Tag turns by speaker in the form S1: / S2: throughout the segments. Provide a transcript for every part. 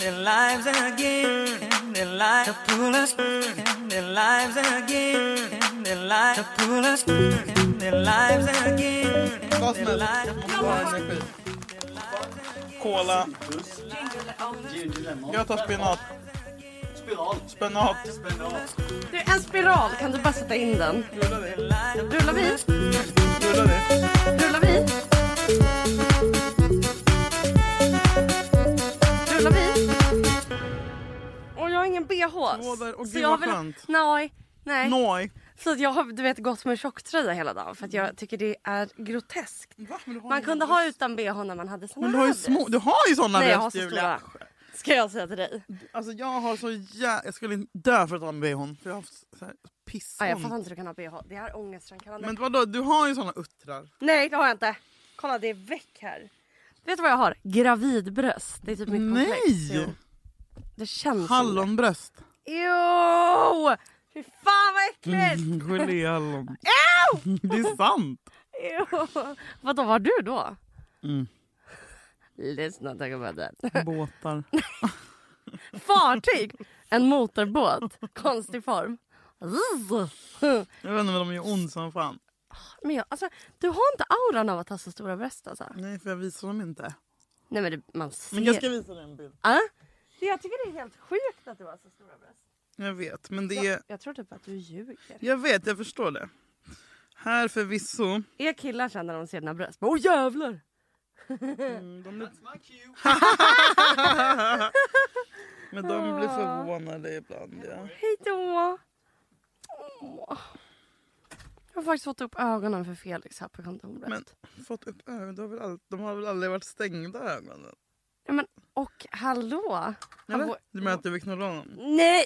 S1: lives again, and their lives to pull us, and their lives again, and their lives to pull us, and their lives again, and their lives to pull us.
S2: Kola. Jag tar spinat. Spenat.
S3: Du, en spiral. Kan du bara sätta in den? Rullar vi?
S2: Rullar det?
S3: Rullar vi? Rullar vi? Och jag har ingen bh.
S2: Nåder, åh,
S3: så
S2: gud,
S3: jag
S2: vad
S3: vill-
S2: skönt.
S3: Nej. Nej.
S2: Noj.
S3: Så att jag har du vet, gått med tjocktröja hela dagen för att jag tycker det är groteskt.
S2: Va? Men du har
S3: Man
S2: ju-
S3: kunde ha utan bh när man hade såna
S2: Men du har ju
S3: här
S2: små...
S3: dress.
S2: Du har ju såna
S3: Nej jag har
S2: bröst
S3: så
S2: Julia.
S3: stora. Ska jag säga till dig?
S2: Alltså jag har så jä... Jag skulle inte dö för att ha en bhn. För jag har haft så här
S3: Ja, jag fattar
S2: pissont.
S3: inte hur du kan ha bh. Det är ångestframkallande.
S2: Men vadå, du har ju såna uttrar.
S3: Nej det har jag inte. Kolla det är väck här. Vet du vad jag har? Gravidbröst. Det är typ mitt komplex.
S2: Nej!
S3: Jo. Det känns som
S2: Hallonbröst.
S3: det. Jo! Fy fan vad äckligt!
S2: Geléhallon. Det är sant.
S3: Jo. Vadå var du då?
S2: Mm.
S3: Lyssna tack about that.
S2: Båtar.
S3: Fartyg! En motorbåt. Konstig form.
S2: Jag vet inte men de gör ont som fan.
S3: Men jag, alltså, du har inte auran av att ha så stora bröst alltså.
S2: Nej för jag visar dem inte.
S3: Nej men det, man ser.
S2: Men jag ska visa dig en bild.
S3: Ah? Det- Jag tycker det är helt sjukt att du har så stora bröst.
S2: Jag vet men det
S3: Jag,
S2: är...
S3: jag tror typ att du ljuger.
S2: Jag vet jag förstår det. Här förvisso.
S3: Är killar sen när de ser dina bröst? Åh jävlar!
S2: Men de blir förvånade ibland ja.
S3: Hej då! Åh. Jag har faktiskt fått upp ögonen för Felix här på kontoret.
S2: Men fått upp ögonen, de har väl, all... de har väl aldrig varit stängda ögonen?
S3: Ja, men och hallå! Han
S2: Eller?
S3: bor-
S2: Du menar att du vill knulla honom?
S3: Nej!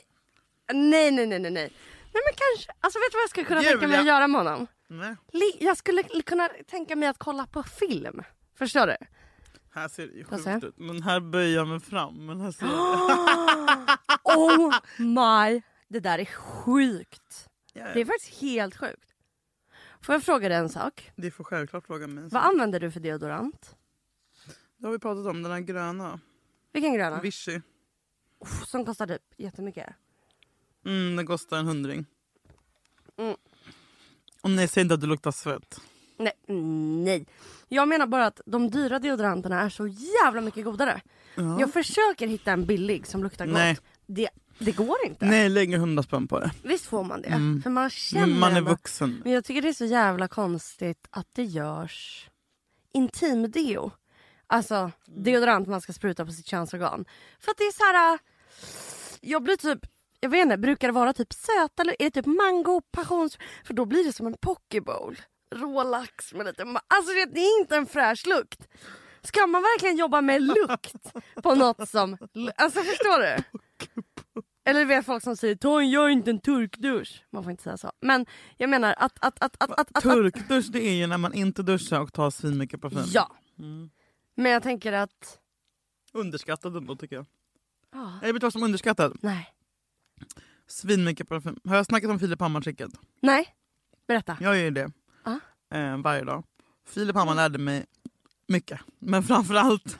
S3: Nej, nej, nej, nej, nej. Nej men kanske, alltså vet du vad jag skulle kunna tänka mig att
S2: Julia.
S3: göra med honom?
S2: Nej.
S3: Li- jag skulle l- kunna tänka mig att kolla på film. Förstår du?
S2: Här ser det ju
S3: Får se.
S2: sjukt ut. Men här böjer jag mig fram. Men här ser jag...
S3: Oh my! Det där är sjukt.
S2: Ja,
S3: Det är
S2: ja.
S3: faktiskt helt sjukt. Får jag fråga dig en sak?
S2: Det får självklart fråga mig.
S3: Vad använder du för deodorant?
S2: Det har vi pratat om, den här gröna.
S3: Vilken gröna?
S2: Vichy.
S3: Uff, som kostar typ jättemycket.
S2: Mm, den kostar en hundring.
S3: Mm.
S2: Och nej, säg inte att du luktar svett.
S3: Nej, nej. Jag menar bara att de dyra deodoranterna är så jävla mycket godare.
S2: Ja.
S3: Jag försöker hitta en billig som luktar gott.
S2: Nej.
S3: Det, det går inte.
S2: Nej, lägger hundra spänn på det.
S3: Visst får man det? För man känner
S2: Men man är
S3: ändå-
S2: vuxen.
S3: Men jag tycker det är så jävla konstigt att det görs intimdeo. Alltså deodorant man ska spruta på sitt könsorgan. För att det är så här... äh, Jag blir typ... Jag vet inte, brukar det vara typ söt eller är det typ mango, passions... För då blir det som en pokebowl. Rå lax med lite... ma- Alltså det det är inte en fräsch lukt. Ska man verkligen jobba med lukt på något som... Alltså förstår du? Eller du vet folk som säger Tony gör inte en turkdusch. Man får inte säga så. Men jag menar att... att, att, att, att, att, att
S2: Turkdusch det är ju när man inte duschar och tar svinmycket parfym.
S3: ja. Men jag tänker att...
S2: Underskattad ändå tycker jag.
S3: Ja.
S2: Jag vet du vad som är underskattad?
S3: Nej.
S2: Svinmycket parfym. Har jag snackat om Filip Hammar-tricket?
S3: Nej. Berätta.
S2: Jag gör ju det.
S3: Ja.
S2: Eh, varje dag. Filip Hammar lärde mig mycket. Men framförallt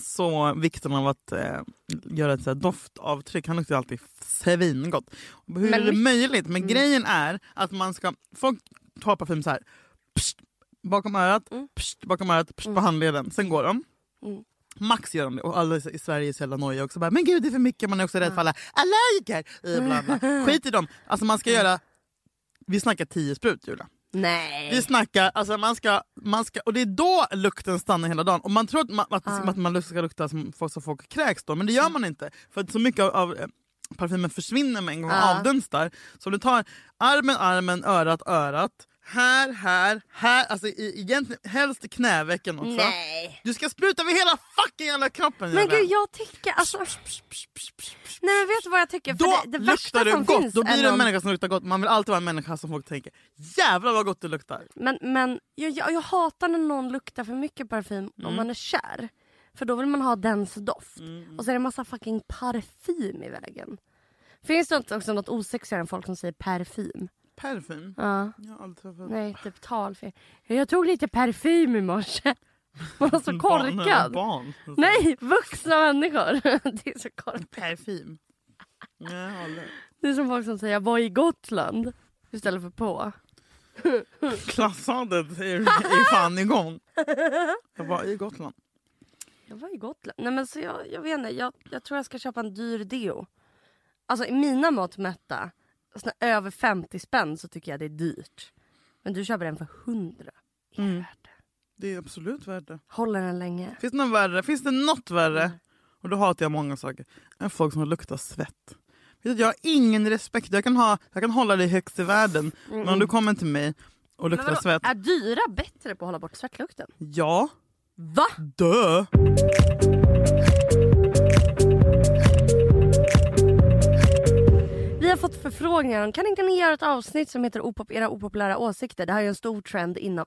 S2: så vikten av att eh, göra ett så här doftavtryck. Han luktar alltid svingott. Hur
S3: Men
S2: är det
S3: mycket- Mm.
S2: möjligt? Men grejen är att man ska... Folk tar parfym så här. Pst, bakom örat,
S3: Mm.
S2: pst, bakom örat, pst, på handleden. Sen går de. Max gör de det och alla i Sverige är så jävla nojiga också. Bara, men gud det är för mycket, man är också rädd
S3: Mm.
S2: för alla allergiker. Eh, Bla, bla. Skit i dem. Alltså man ska
S3: Mm.
S2: göra... Vi snackar tio sprut Julia. Vi
S3: Nej.
S2: snackar, alltså man ska, man ska, och det är då lukten stannar hela dagen. Och man tror att man, att, att man ska lukta som folk, som folk kräks då, men det
S3: Mm.
S2: gör man inte. För att så mycket av, av eh, parfymen försvinner med en gång och
S3: Ja.
S2: avdunstar. Så om du tar armen, armen, örat, örat. Här, här, här. Alltså i, egentligen helst i knävecken också.
S3: Nej.
S2: Du ska spruta över hela fucking jävla kroppen
S3: Men
S2: jävlar.
S3: gud jag tycker alltså... Nej men vet du vad jag tycker? För
S2: Då
S3: det, det värsta
S2: luktar du
S3: som
S2: gott,
S3: finns
S2: då blir
S3: är
S2: du en
S3: någon-
S2: människa som luktar gott. Man vill alltid vara en människa som folk tänker jävlar vad gott du luktar.
S3: Men, men jag, jag, jag hatar när någon luktar för mycket parfym
S2: Mm.
S3: om man är kär. För då vill man ha dens doft.
S2: Mm.
S3: Och så är det en massa fucking parfym i vägen. Finns det inte också något osexigare än folk som säger parfym?
S2: Parfym?
S3: Ja.
S2: Jag har aldrig träffat
S3: Nej, typ talfel. Jag tog lite parfym i morse. Man var så
S2: Barn, eh,
S3: korkad.
S2: barn.
S3: Nej, vuxna människor. Det är så korkat.
S2: Parfym. Jag håller.
S3: Det är som folk som säger jag var i Gotland istället för på.
S2: Klassandet är, är fan igång. Jag var i Gotland.
S3: Jag var i Gotland. Nej men så jag, jag vet inte, jag, jag tror jag ska köpa en dyr deo. Alltså i mina mått mätta, såna över 50 spänn så tycker jag det är dyrt. Men du köper den för 100. Är det värt det?
S2: Det är absolut värt det.
S3: Håller den länge?
S2: Finns det något värre? Finns det något värre? Och då hatar jag många saker. Än folk som luktar svett. Vet du, Jag har ingen respekt. Jag kan, ha, jag kan hålla dig högst i världen. Men om du kommer till mig och
S3: Men
S2: luktar
S3: vadå,
S2: svett.
S3: Är dyra bättre på att hålla bort svettlukten?
S2: Ja.
S3: Va?
S2: Dö!
S3: Vi har fått förfrågningar om kan inte ni göra ett avsnitt som heter Opop era opopulära åsikter? Det här är ju en stor trend inom...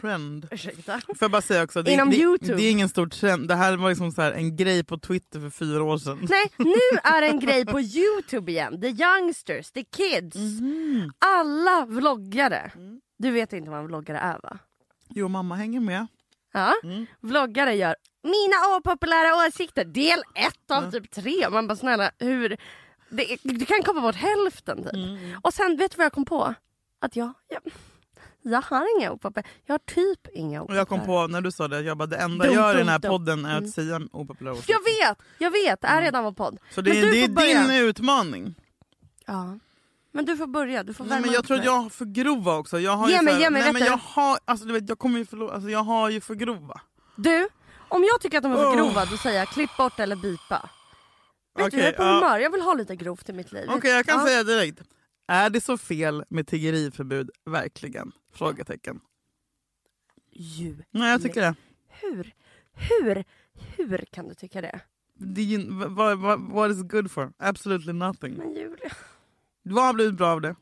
S2: Trend.
S3: Ursäkta.
S2: Får jag bara säga också, det,
S3: Inom
S2: det,
S3: YouTube.
S2: det är ingen stor trend. Det här var liksom så här en grej på Twitter för fyra år sedan.
S3: Nej, nu är det en grej på Youtube igen. The youngsters, the kids.
S2: Mhm.
S3: Alla vloggare. Du vet inte vad en vloggare är va?
S2: Jo, mamma hänger med.
S3: Ja.
S2: Mm.
S3: Vloggare gör mina opopulära åsikter del ett av typ tre. Man bara snälla hur? Det, du kan komma bort hälften
S2: Mm.
S3: typ. Och sen vet du vad jag kom på? Att jag, jag, jag har inga opopulära, jag har typ inga
S2: Och
S3: opopulära.
S2: jag kom på när du sa det, jag bara det enda
S3: Dum,
S2: jag gör i
S3: dum,
S2: den här
S3: dum. Mm.
S2: podden är att säga opopulära åsikter.
S3: Jag vet, jag vet. Det här är
S2: Mm.
S3: redan vår podd.
S2: Så det, är-
S3: du
S2: det
S3: får börja.
S2: är din utmaning.
S3: Ja. Men du får börja, du får
S2: Nej, men
S3: värma
S2: jag
S3: upp
S2: tror att
S3: mig.
S2: jag har för grova också. Jag har
S3: Ge
S2: ju så
S3: mig-
S2: här-
S3: ge mig,
S2: nej,
S3: vet
S2: men
S3: du.
S2: jag har, alltså, du vet, jag kommer ju förlora, alltså, jag har ju för grova.
S3: Du, om jag tycker att de är för
S2: Oh.
S3: grova då säger jag klipp bort eller bipa. Vet du,
S2: Okej,
S3: jag är på
S2: ja.
S3: humör. Jag vill ha lite grovt i mitt liv.
S2: Okej, jag kan
S3: Ja.
S2: säga direkt. Är det så fel med tiggeriförbud verkligen? Frågetecken.
S3: Ju.
S2: Nej, jag tycker det.
S3: Hur, hur, hur kan du tycka det?
S2: det är ju- vad- vad- vad- What is good for? Absolutely nothing.
S3: Men Julia.
S2: Vad har blivit bra av det?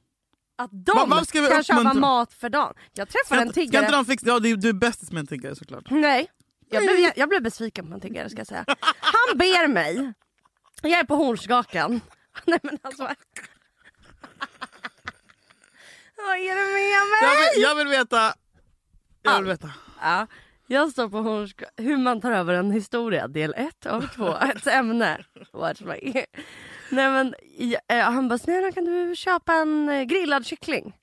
S3: Att de
S2: Va- varför ska vi
S3: kan köpa
S2: uppmuntra?
S3: mat för dagen. Jag träffade
S2: Kan
S3: en
S2: inte- Kan
S3: tiggare.
S2: inte de fixa Ja, du, du är bästis med en tiggare såklart.
S3: Nej. Jag blev, jag blev besviken på en tiggare ska jag säga. Han ber mig. Jag är på Hornsgakan. Nej men alltså. Vad är det med
S2: Jag
S3: mig?
S2: vill, jag vill veta. Jag vill veta.
S3: Ja, jag står på Hornska, hur man tar över en historia, del 1 av 2. Ett ämne. Watch my ear. Nej, men, ja, eh, han bara, snälla kan du köpa en eh, grillad kyckling?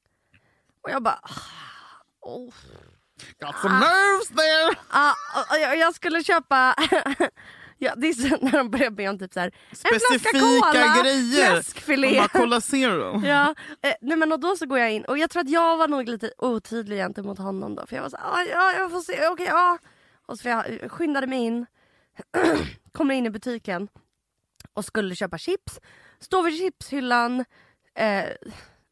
S3: Och jag bara, ah, oh.
S2: Got some nerves there!
S3: ah, och- och jag, jag skulle köpa... Ja, det är så när de börjar be om typ så här, en flaska
S2: Specifika
S3: cola,
S2: grejer. De
S3: fläskfilé.
S2: bara, Cola zero.
S3: Ja, eh, nej men och då så går jag in och jag tror att jag var nog lite otydlig gentemot honom då för jag var så här, ah, ja jag får se, okej ja. Och så jag eh, skyndade mig in, kommer in i butiken och skulle köpa chips. Står vid chipshyllan eh,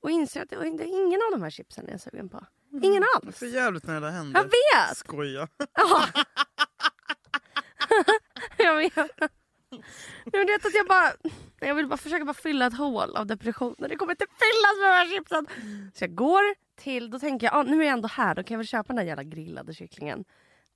S3: och inser att det det är ingen av de här chipsen jag är sugen på. Ingen alls.
S2: För jävligt när det där händer.
S3: Jag vet!
S2: Skoja.
S3: Ja. jag vet. Nej, men det är att jag bara... Jag vill bara försöka bara fylla ett hål av depressionen. Det kommer inte fyllas med de här chipsen. Så jag går till... Då tänker jag ah, nu är jag ändå här. Då kan jag väl köpa den där jävla grillade kycklingen.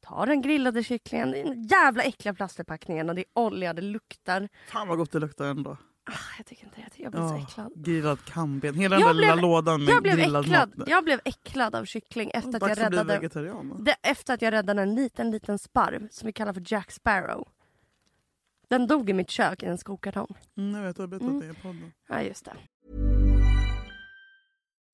S3: Tar den grillade kycklingen. Det är den jävla äckliga plastförpackningen och det är olja, det luktar.
S2: Fan vad gott det luktar ändå.
S3: Ah, jag tycker inte det. Jag tycker Jag blir så
S2: Ja,
S3: äcklad.
S2: grillad kamben. Hela den
S3: Jag
S2: där lilla
S3: blev-
S2: lådan med
S3: Jag blev,
S2: grillad
S3: äcklad.
S2: mat.
S3: jag blev äcklad av kyckling efter att jag
S2: Dags att bli
S3: räddade...
S2: vegetarian. då.
S3: Det, efter att jag räddade en liten, liten sparv som vi kallar för Jack Sparrow. Den dog i mitt kök i en skokartong.
S2: Mm, jag vet, jag har berättat det i podden.
S3: Ja, just det.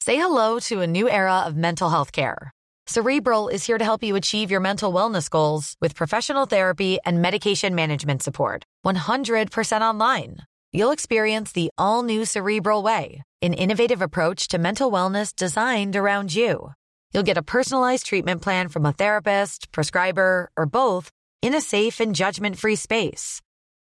S4: Say hello to a new era of mental health care. Cerebral is here to help you achieve your mental wellness goals with professional therapy and medication management support. 100% online. You'll experience the all new Cerebral Way, an innovative approach to mental wellness designed around you. You'll get a personalized treatment plan from a therapist, prescriber, or both in a safe and judgment free space.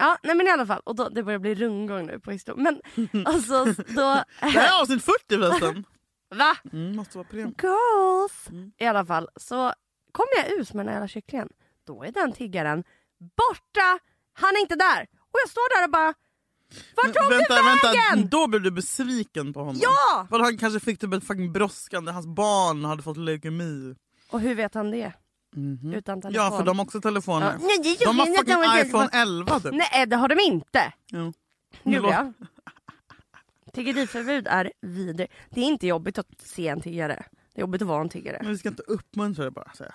S3: Ja, nej men i alla fall. Och då, det börjar bli rundgång nu på historien. Men alltså då...
S2: Det här är avsnitt 40 förresten.
S3: Va?
S2: Mm, måste vara problem.
S3: Girls! I alla fall så kommer jag ut med den här jävla kycklingen. Då är den tiggaren borta. Han är inte där. Och jag står där och bara... Vart tog du vägen?
S2: Då blev du besviken på honom.
S3: Ja!
S2: För han kanske fick typ ett fucking brådskande, hans barn hade fått leukemi.
S3: Och hur vet han det? Utan telefon.
S2: Ja för de har också telefoner.
S3: Ja. Nej, det gjorde
S2: De har
S3: jag
S2: fucking
S3: inte. Det var-
S2: iPhone 11 typ.
S3: Nej, det har de inte.
S2: Jo.
S3: Julia. Tiggeriförbud är vidrigt. Det är inte jobbigt att se en tiggare. Det är jobbigt att vara en tiggare.
S2: Men vi ska inte uppmuntra det bara. Säga.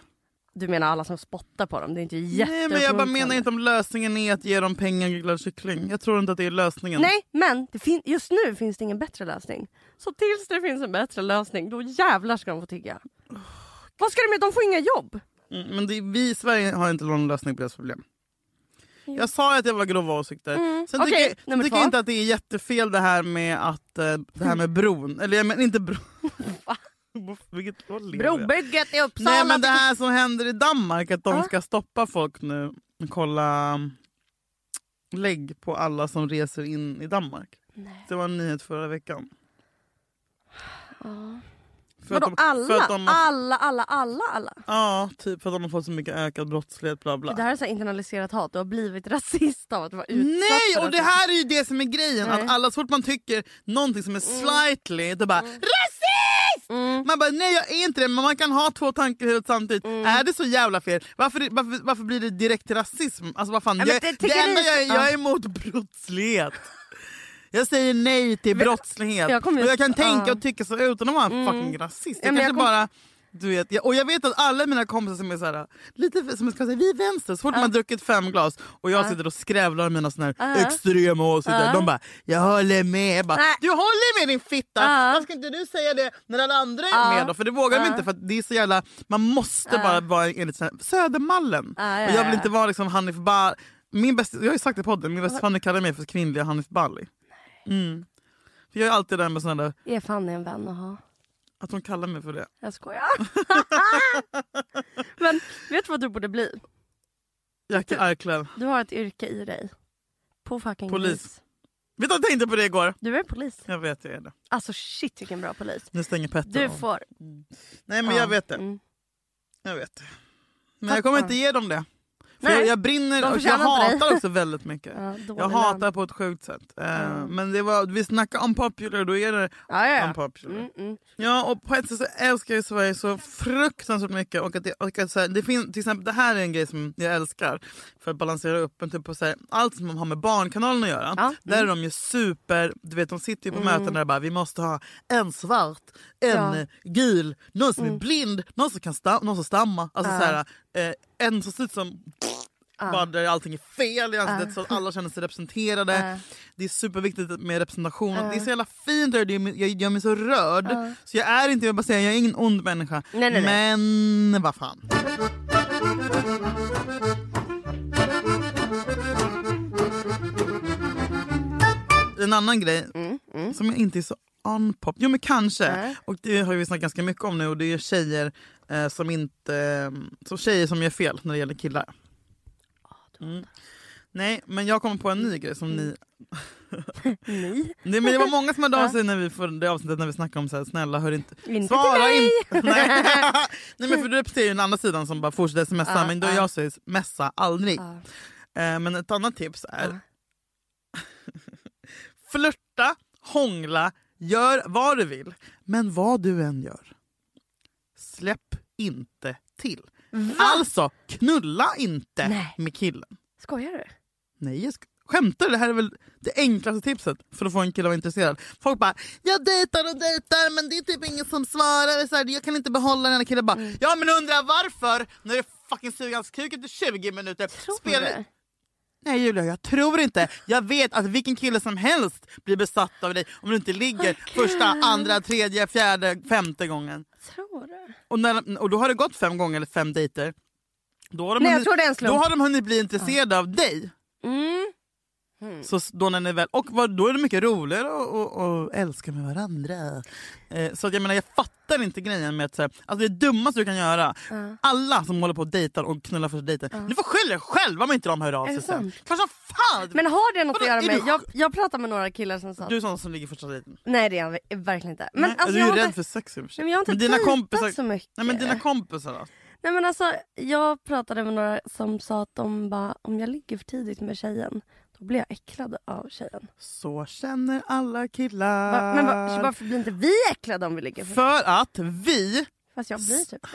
S3: Du menar alla som spottar på dem? Det är inte
S2: Nej men jag bara
S3: jätteuppmuntrande.
S2: menar inte om lösningen är att ge dem pengar och glad kyckling. Jag tror inte att det är lösningen.
S3: Nej, men det fin- just nu finns det ingen bättre lösning. Så tills det finns en bättre lösning, då jävlar ska de få tigga. Vad ska de göra? De får inga jobb.
S2: Mm, Men det, vi i Sverige har inte någon lösning på deras problem. Jag sa ju att det var grova åsikter. Sen
S3: Mm. Okej,
S2: tycker, jag-
S3: nummer
S2: tycker
S3: två.
S2: jag inte att det är jättefel det här med att eh, det här med bron. Eller jag menar inte bron. Vilket vad lever jag?
S3: Brobygget i Uppsala.
S2: Nej men det här som händer i Danmark, att de
S3: Ja.
S2: ska stoppa folk nu och kolla mm, lägg på alla som reser in i Danmark. Det var en nyhet förra veckan. För att
S3: Vadå
S2: de-
S3: alla?
S2: För att de har,
S3: Alla, alla, alla, alla?
S2: ja, typ för att de har fått så mycket ökad brottslighet bla bla.
S3: Det här är så här internaliserat hat. Du har blivit rasist av att vara utsatt för
S2: Nej och det
S3: rasism.
S2: här är ju det som är grejen.
S3: Nej. Mm.
S2: Att alla så fort man tycker någonting som är slightly, då bara rasist! Man bara nej jag är inte det men man kan ha två tankar i huvudet samtidigt.
S3: Mm.
S2: Är det så jävla fel? Varför, varför, varför blir det direkt till rasism? Alltså vad fan,
S3: Ja, men
S2: jag,
S3: det
S2: det,
S3: tycker
S2: enda
S3: ni-
S2: jag, är- jag
S3: Ja.
S2: är emot brottslighet. Jag säger nej till brottslighet.
S3: jag kommer
S2: och jag kan
S3: just-
S2: tänka
S3: ja. Mm.
S2: och tycka så utan att vara en fucking rasist.
S3: Ja,
S2: Jag
S3: men jag
S2: kanske
S3: kom-
S2: bara... Du vet, jag, och jag vet att alla mina kompisar som är så här, lite som jag ska säga, vi är vänster, så fort man har druckit fem glas och jag sitter och skrävlar med mina såna här
S3: Ja.
S2: extrema åsikter, de bara “jag håller med”. Jag bara,
S3: Nej.
S2: du håller med din fitta!
S3: Ja.
S2: Varför ska inte du säga det när alla andra är
S3: Ja.
S2: med då? För det vågar de inte för att det är så jävla, man måste bara vara enligt sån här, Södermallen.
S3: Ja, ja,
S2: och jag
S3: ja,
S2: vill inte
S3: ja.
S2: vara liksom Hanif Bali. Min bästa, jag har ju sagt det i podden, min bästa Fanny kallar mig för kvinnliga Hanif Bali. Mm. För jag är alltid den med såna där,
S3: Ge fan en vän att ha.
S2: att de kallar mig för det.
S3: Jag skojar. Men vet du vad du borde bli?
S2: Jackie Arklöv.
S3: Du har ett yrke i dig. På fucking
S2: Polis.
S3: polis.
S2: Vet du, jag tänkte på det igår.
S3: Du är polis.
S2: Jag vet, jag är det.
S3: Alltså shit vilken bra polis.
S2: Nu stänger Petter
S3: Du
S2: av. Mm.
S3: får...
S2: Nej men
S3: ja,
S2: jag vet det.
S3: mm.
S2: Jag vet det. Men jag kommer
S3: Fattar.
S2: inte ge dem det. För
S3: Nej,
S2: jag, jag brinner
S3: de
S2: och jag
S3: förtjänar inte dig.
S2: hatar också väldigt mycket.
S3: Ja, dålig
S2: jag
S3: lön.
S2: hatar på ett sjukt sätt. Eh, Men det var, vi snackar unpopular, då är det
S3: Ja, ja, ja.
S2: unpopular.
S3: Mm, mm.
S2: Ja, och på ett sätt så älskar jag Sverige så fruktansvärt mycket. Och att det, och att så här, det, finns, till exempel, det här är en grej som jag älskar för att balansera upp. Men typ på så här, allt som har med Barnkanalen att göra,
S3: Ja, Mm.
S2: där är de ju super... Du vet, de sitter ju på möten där de bara vi måste ha en svart, en
S3: Ja. Mm.
S2: eh, gul, någon som är blind, någon som, kan sta- någon som stammar. Alltså, så här, eh, en som ser ut som... Bara där allting är fel i ansiktet så att alla känner sig representerade. Det är superviktigt med representation. Det är så jävla fint och det gör mig- jag gör mig så rörd. Så jag är inte, jag bara säger, jag är ingen ond människa.
S3: Nej, nej, nej.
S2: Men vad fan. En annan grej som jag inte är så unpop. Jo men kanske. Och det har vi snackat ganska mycket om nu och det är tjejer eh, som inte... Så tjejer som gör fel när det gäller killar. Mm. Nej men jag kommer på en ny grej som ni
S3: Ni?
S2: Nej, men det var många som hörde av sig när vi för det avsnittet när vi snackade om så här, snälla hör inte,
S3: Inte
S2: svara
S3: till mig!
S2: inte. Nej. Nej men för du representerar ju den andra sidan som bara fortsätter smsa
S3: Ja,
S2: men då
S3: ja.
S2: jag säger messa aldrig.
S3: Ja.
S2: Eh, men ett annat tips är
S3: Ja.
S2: flörta, hångla, gör vad du vill. Men vad du än gör, släpp inte till. Alltså knulla inte
S3: Nej.
S2: med killen.
S3: Skojar du?
S2: Nej, jag sk- skämtar du? Det här är väl det enklaste tipset för att få en kille att vara intresserad. Folk bara, jag dejtar och dejtar men det är typ ingen som svarar. Så här, jag kan inte behålla den här killen. Bara,
S3: Mm.
S2: Ja men undra varför? När du fucking suger hans kuk efter 20 minuter.
S3: Tror
S2: Spela-
S3: du?
S2: Nej Julia, jag tror inte. Jag vet att vilken kille som helst blir besatt av dig om du inte ligger första, andra, tredje, fjärde, femte gången.
S3: Tror du?
S2: Och, när, och då har det gått fem gånger eller fem dejter. Då har de
S3: Nej, jag
S2: hunnit,
S3: tror det är en slump.
S2: då har de hunnit bli intresserade av dig.
S3: Mm.
S2: Så s- då när ni väl, och vad, då är det mycket roligare att och, och älska med varandra. Eh, så att jag menar jag fattar inte grejen med att så här, alltså det dummaste du kan göra, alla som håller på och dejtar och knullar första dejten, ni får skylla er själva om inte de hör av
S3: Är
S2: sig
S3: det
S2: sen.
S3: sant?
S2: Klart som fan!
S3: Men har det något
S2: Vadå,
S3: att göra
S2: är
S3: med...
S2: du-
S3: Jag, jag pratade med några killar som sa att-
S2: Du är sån som ligger första dejten.
S3: Nej det är jag ver- verkligen inte. Men,
S2: Nej,
S3: alltså,
S2: du
S3: jag
S2: är
S3: har
S2: ju rädd
S3: inte-
S2: för sex i och för sig.
S3: Nej, men jag har inte
S2: Men dina
S3: dejtat
S2: kompisar-
S3: så mycket.
S2: Nej men dina kompisar då?
S3: Nej men alltså jag pratade med några som sa att de bara, om jag ligger för tidigt med tjejen då blir jag äcklad av tjejen.
S2: Så känner alla killar.
S3: Bara, men bara, så varför blir inte vi äcklade om vi ligger för
S2: Ah. För att vi,
S3: Fast jag blir typ det.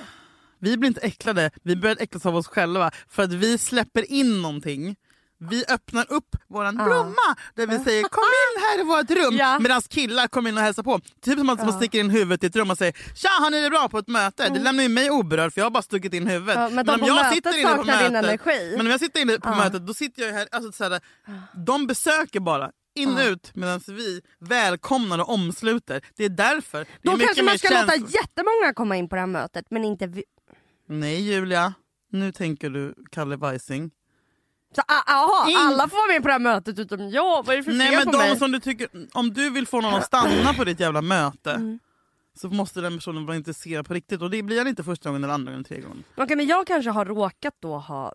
S2: vi blir inte äcklade, vi börjar äcklas av oss själva för att vi släpper in någonting. Vi öppnar upp våran blomma där vi säger kom in här i vårt rum
S3: Ja.
S2: medan killar kommer in och hälsar på. Typ som att man sticker in huvudet i ett rum och säger tja har ni det bra på ett möte? Det lämnar ju mig oberörd för jag har bara stuckit in huvudet.
S3: Mm. Ja, men de på mötet saknar din energi.
S2: Men om jag sitter inne på mötet då sitter jag ju här, alltså, så här de besöker bara. In och ut medan vi välkomnar och omsluter. Det är därför. Det är
S3: Då
S2: mycket
S3: kanske
S2: mer
S3: man ska låta
S2: känsla-
S3: jättemånga komma in på det här mötet men inte vi.
S2: Nej Julia, nu tänker du Kalle Weising.
S3: Så, a- aha,
S2: In-
S3: alla får vara med på det här mötet utom jag. Vad är det för
S2: Nej
S3: fel
S2: men
S3: på
S2: de
S3: mig?
S2: som du tycker, om du vill få någon att stanna på ditt jävla möte
S3: Mm.
S2: så måste den personen vara intresserad på riktigt och det blir han inte första gången eller andra gången, tredje gången.
S3: Okej, men jag kanske har råkat då ha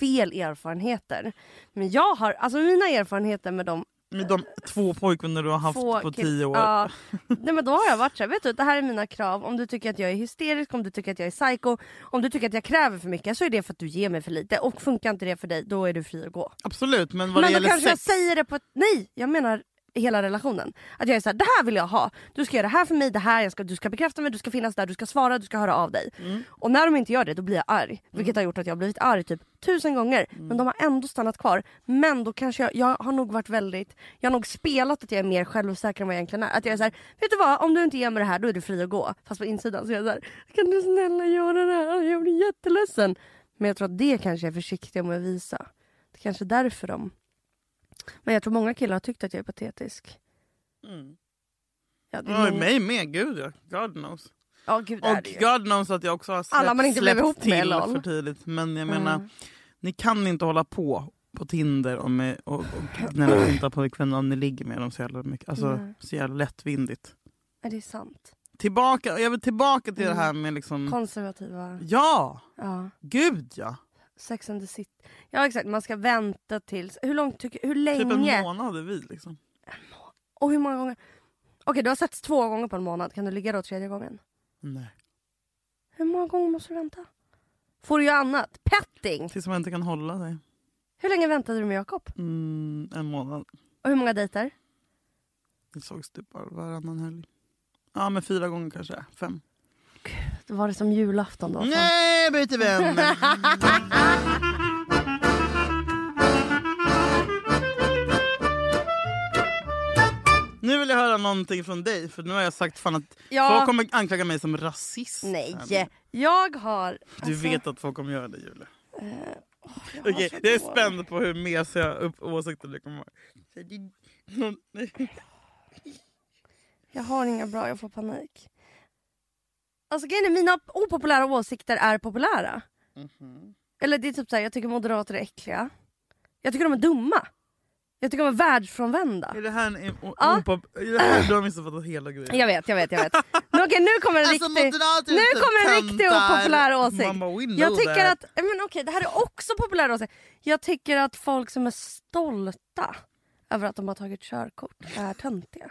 S3: fel erfarenheter. Men jag har, alltså mina erfarenheter med de
S2: Med de två pojkvänner du har haft
S3: få
S2: på
S3: kill-
S2: tio år.
S3: Ja. Nej, men då har jag varit så här, vet du det här är mina krav. Om du tycker att jag är hysterisk, om du tycker att jag är psycho, om du tycker att jag kräver för mycket så är det för att du ger mig för lite. Och funkar inte det för dig, då är du fri att gå.
S2: Absolut men vad det
S3: men då
S2: gäller
S3: kanske
S2: sex.
S3: jag säger det på ett, nej jag menar hela relationen. Att jag är så här, det här vill jag ha. Du ska göra det här för mig, det här, jag ska, du ska bekräfta mig, du ska finnas där, du ska svara, du ska höra av dig.
S2: Mm.
S3: Och när de inte gör det då blir jag arg. Vilket har gjort att jag har blivit arg typ tusen gånger.
S2: Mm.
S3: Men de har ändå stannat kvar. Men då kanske jag, jag har nog varit väldigt, jag har nog spelat att jag är mer självsäker än vad jag egentligen är. Att jag är så här, vet du vad om du inte ger mig det här då är du fri att gå. Fast på insidan så är jag så här, kan du snälla göra det här? Jag blir jätteledsen. Men jag tror att det kanske är försiktiga med att visa. Det kanske är därför de men jag tror många killar har tyckt att jag är patetisk. Ja, det
S2: Oj,
S3: är många-
S2: Mm. mig med, gud ja. God knows.
S3: Ja, gud Mm. det är
S2: Och
S3: det ju.
S2: God knows att jag också har släppt,
S3: Alla man inte blev
S2: släppt
S3: ihop
S2: till
S3: med, lol.
S2: för tidigt. Men jag
S3: Mm.
S2: menar, ni kan inte hålla på på Tinder och, med, och, och gnälla på inte pojkvänner om ni ligger med dem så jävla mycket. Alltså,
S3: Nej.
S2: så jävla lättvindigt.
S3: Ja, det är sant.
S2: Tillbaka, och jag vill tillbaka till det här
S3: Mm.
S2: med liksom...
S3: Konservativa.
S2: Ja!
S3: Ja.
S2: Gud ja!
S3: Sex and the city. Ja exakt, man ska vänta tills... Hur långt tycker Hur länge?
S2: Typ en månad hade vi liksom.
S3: och hur många gånger? Okej du har setts två gånger på en månad, kan du ligga då tredje gången?
S2: Nej.
S3: Hur många gånger måste du vänta? Får du göra annat? Petting!
S2: Tills man inte kan hålla sig.
S3: Hur länge väntade du med Jakob?
S2: Mm, en månad.
S3: Och hur många dejter?
S2: Vi sågs typ bara varannan helg. Ja men fyra gånger kanske, fem.
S3: Då var det som julafton då. fan.
S2: Nej, jag byter vän! nu vill jag höra någonting från dig, för nu har jag sagt fan att
S3: Ja.
S2: folk kommer anklaga mig som rasist.
S3: Nej! Alltså- Jag har...
S2: Du vet att folk kommer göra det, Julia.
S3: Eh,
S2: Okej, jag är spänd på hur mesiga upp- åsikter du kommer ha. Så det- någon- nej.
S3: Jag har inga bra, jag får panik. Alltså grejen är, mina opopulära åsikter är populära.
S2: Mhm.
S3: Eller det är typ såhär, jag tycker moderater är äckliga. Jag tycker de är dumma. Jag tycker de är världsfrånvända.
S2: Är det här en en- o-
S3: Ja.
S2: opop- är det här Du har missuppfattat hela grejen.
S3: Jag vet, jag vet, jag vet. Men okej nu kommer en
S2: Alltså,
S3: riktig,
S2: moderater är
S3: nu
S2: inte
S3: kommer en riktig
S2: töntar.
S3: opopulär åsikt.
S2: Mamma, we know
S3: jag tycker
S2: that.
S3: att, eh, men okej det här är också populär åsikt. Jag tycker att folk som är stolta över att de har tagit körkort är töntiga.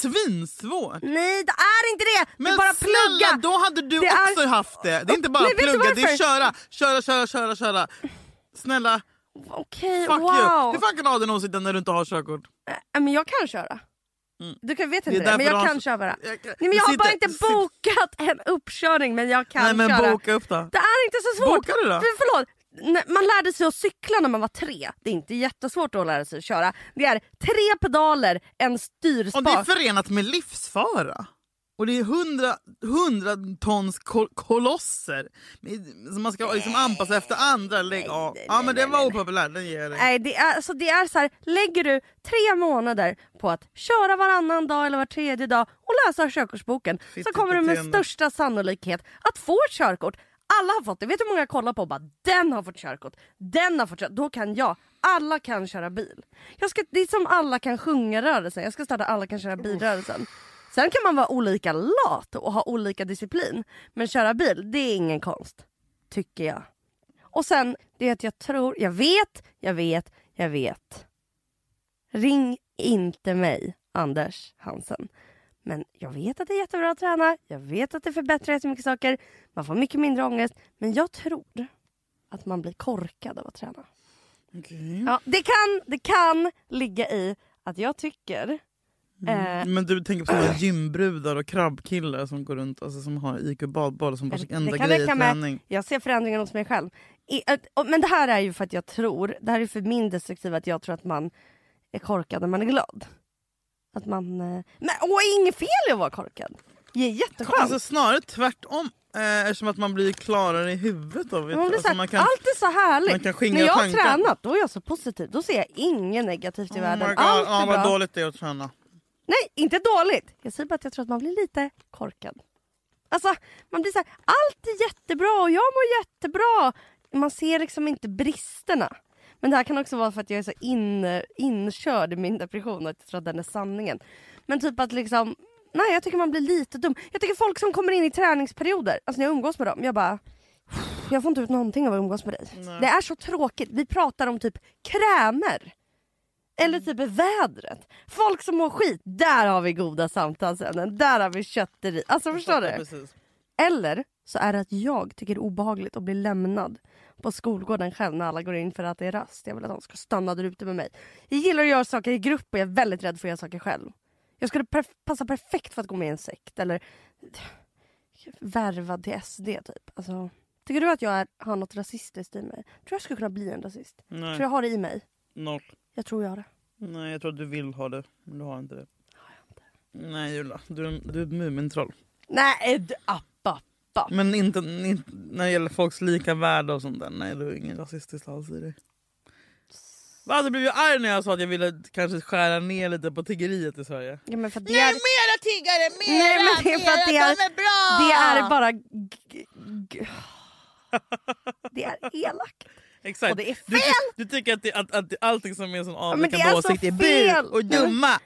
S2: Svinsvårt!
S3: Nej det är inte det! det
S2: Men
S3: är bara
S2: snälla,
S3: plugga!
S2: då hade du
S3: Det är-
S2: också haft det. Det är inte bara
S3: Men vet du
S2: plugga, det är
S3: varför?
S2: köra, köra, köra, köra, köra. Snälla,
S3: Okej
S2: fuck you.
S3: wow.
S2: Hur fan kan du ha den åsikten när du inte har körkort?
S3: Äh, men jag kan köra. Du
S2: Mm.
S3: kan, vet
S2: Det är
S3: inte det, men
S2: därför
S3: jag
S2: de-
S3: kan köra. Nej,
S2: Jag kan-
S3: men jag har
S2: Sitter-
S3: bara inte
S2: sitter-
S3: bokat en uppkörning men jag kan
S2: Nej men
S3: köra.
S2: boka upp då.
S3: Det är inte så svårt.
S2: Bokar du då?
S3: För, förlåt. Nej, Man lärde sig att cykla när man var tre. Det är inte jättesvårt att lära sig att köra. Det är tre pedaler, en
S2: Om det är
S3: styrspak.
S2: förenat med livsfara och det är hundra, hundra tons kol- kolosser med- som man ska liksom anpassa efter andra. Lägg av. Ja men den var opopulär, den ger jag dig.
S3: Nej, det är, alltså det är så här, lägger du tre månader på att köra varannan dag eller var tredje dag och läsa körkortsboken så
S2: Fitt
S3: kommer du med
S2: beteende.
S3: största sannolikhet att få ett körkort. Alla har fått det. Vet du hur många jag kollar på och bara den har fått körkort, den har fått körkort. Då kan jag. Alla kan köra bil. Jag ska, det är som alla kan sjunga-rörelsen. Jag ska starta alla kan köra bil-rörelsen. Sen kan man vara olika lat och ha olika disciplin. Men köra bil, det är ingen konst. Tycker jag. Och sen, det är att jag tror, jag vet, jag vet, jag vet. Ring inte mig, Anders Hansen. Men jag vet att det är jättebra att träna, jag vet att det förbättrar jättemycket saker, man får mycket mindre ångest, men jag tror att man blir korkad av att
S2: Mm.
S3: träna.
S2: Okej.
S3: Ja, det, kan, det kan ligga i att jag tycker...
S2: Mm.
S3: Eh,
S2: Men du tänker på såna gymbrudar och krabbkillar som går runt alltså, som har IQ badboll som vars
S3: Det
S2: enda
S3: kan
S2: grej är
S3: räcka med-
S2: träning.
S3: Jag ser förändringen hos mig själv. I, att- och- men det här är ju för att jag tror, det här är för min destruktiva, att jag tror att man är korkad när man är glad. Att man... eh, Men åh, inget fel i att vara korkad. Det är jätteskönt.
S2: Alltså snarare tvärtom. Eh, eftersom att man blir klarare i huvudet av det.
S3: man blir
S2: Alltså,
S3: så här,
S2: man kan-
S3: allt är så härligt.
S2: man kan skingra
S3: när jag har
S2: tankar.
S3: tränat då är jag så positiv. Då ser jag inget negativt i
S2: Oh my
S3: världen.
S2: God.
S3: Allt
S2: ja,
S3: är
S2: vad
S3: bra.
S2: dåligt det är att träna.
S3: Nej, inte dåligt. Jag säger bara att jag tror att man blir lite korkad. Alltså, man blir så här, allt är jättebra och jag mår jättebra. Man ser liksom inte bristerna. Men det här kan också vara för att jag är så in, inkörd i min depression och att jag tror att den är sanningen. Men typ att liksom, nej jag tycker man blir lite dum. Jag tycker folk som kommer in i träningsperioder, alltså när jag umgås med dem, jag bara jag får inte ut någonting av att umgås med dig. Det är så tråkigt. Vi pratar om typ krämer. Eller typ vädret. Folk som mår skit, där har vi goda samtalsämnen. Där har vi köttet i. Alltså förstår
S2: Ja,
S3: du?
S2: precis.
S3: Eller så är det att jag tycker det är obehagligt att bli lämnad på skolgården själv när alla går in för att det är rast. Jag vill att de ska stanna där ute med mig. Jag gillar att göra saker i grupp och jag är väldigt rädd för att göra saker själv. Jag skulle perf- passa perfekt för att gå med i en sekt eller värvad till SD typ. Alltså, tycker du att jag är, har något rasistiskt i mig? Tror jag skulle kunna bli en rasist?
S2: Nej,
S3: Tror jag har det i mig?
S2: noll.
S3: Jag tror jag har det.
S2: Nej, jag tror att du vill ha det, men du har inte det. Nej Julia, du är, en- du är ett Mumintroll.
S3: Nej, du- app, app.
S2: Men inte, inte när det gäller folks lika värde och sånt där. Nej, du är ingen rasistisk alls i dig. Va, Du blev ju arg när jag sa att jag ville kanske skära ner lite på tiggeriet i Sverige.
S3: Ja, men för att det är...
S2: mera tiggare! Mera,
S3: Nej, men det är för att det är-
S2: bra!
S3: Det är bara... g- g- Det är elakt.
S2: Exakt.
S3: och det är
S2: Du, ty- du tycker att, det, att, att det, allting som är en sån
S3: men det
S2: avvikande
S3: är så
S2: åsikt är
S3: fel.
S2: bu och dumma.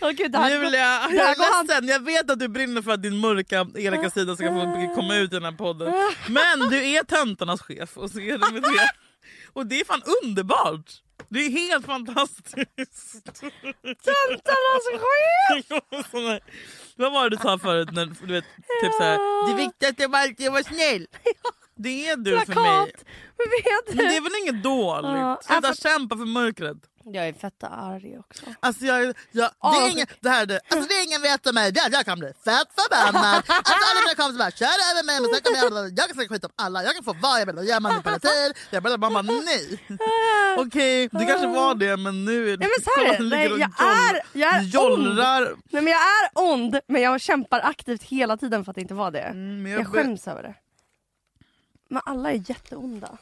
S3: Åh gud, det här-
S2: Julia,
S3: det
S2: jag
S3: här går
S2: är
S3: hand-
S2: ledsen. Jag vet att du brinner för att din mörka, elaka sida ska få komma ut i den här podden. Men du är töntarnas chef och så är det med det. Och det är fan underbart! Det är helt fantastiskt!
S3: Töntarnas chef!
S2: Sån här- Vad var det du sa förut? När, du vet, typ så här, det viktigaste var alltid att vara snäll! Det är du för mig.
S3: Plakat! Men vet
S2: Men det är
S3: du?
S2: väl inget
S3: Ja,
S2: dåligt? Sluta
S3: alltså-
S2: kämpa för mörkret.
S3: Jag är fett arg också.
S2: Alltså jag, jag, det, är
S3: Avundsjuk.
S2: ingen, det här är det. Alltså det är ingen vet om mig. Jag, jag kan bli fett förbannad. Alltså alla mina kompisar bara kör över mig. Men sen kommer jag, jag kan snacka skit om alla. Jag kan få vad jag vill och jag är manipulativ. Jag bara, man bara nej. Okej, det kanske var det men nu är det...
S3: Ja, men så här är det.
S2: Man ligger och
S3: Nej, jag
S2: joll-
S3: är- jag är ond.
S2: jollrar.
S3: Nej men jag är ond men jag kämpar aktivt hela tiden för att inte vara det.
S2: men Mm, jag
S3: jag
S2: be-
S3: skäms över det. Men alla är jätteonda.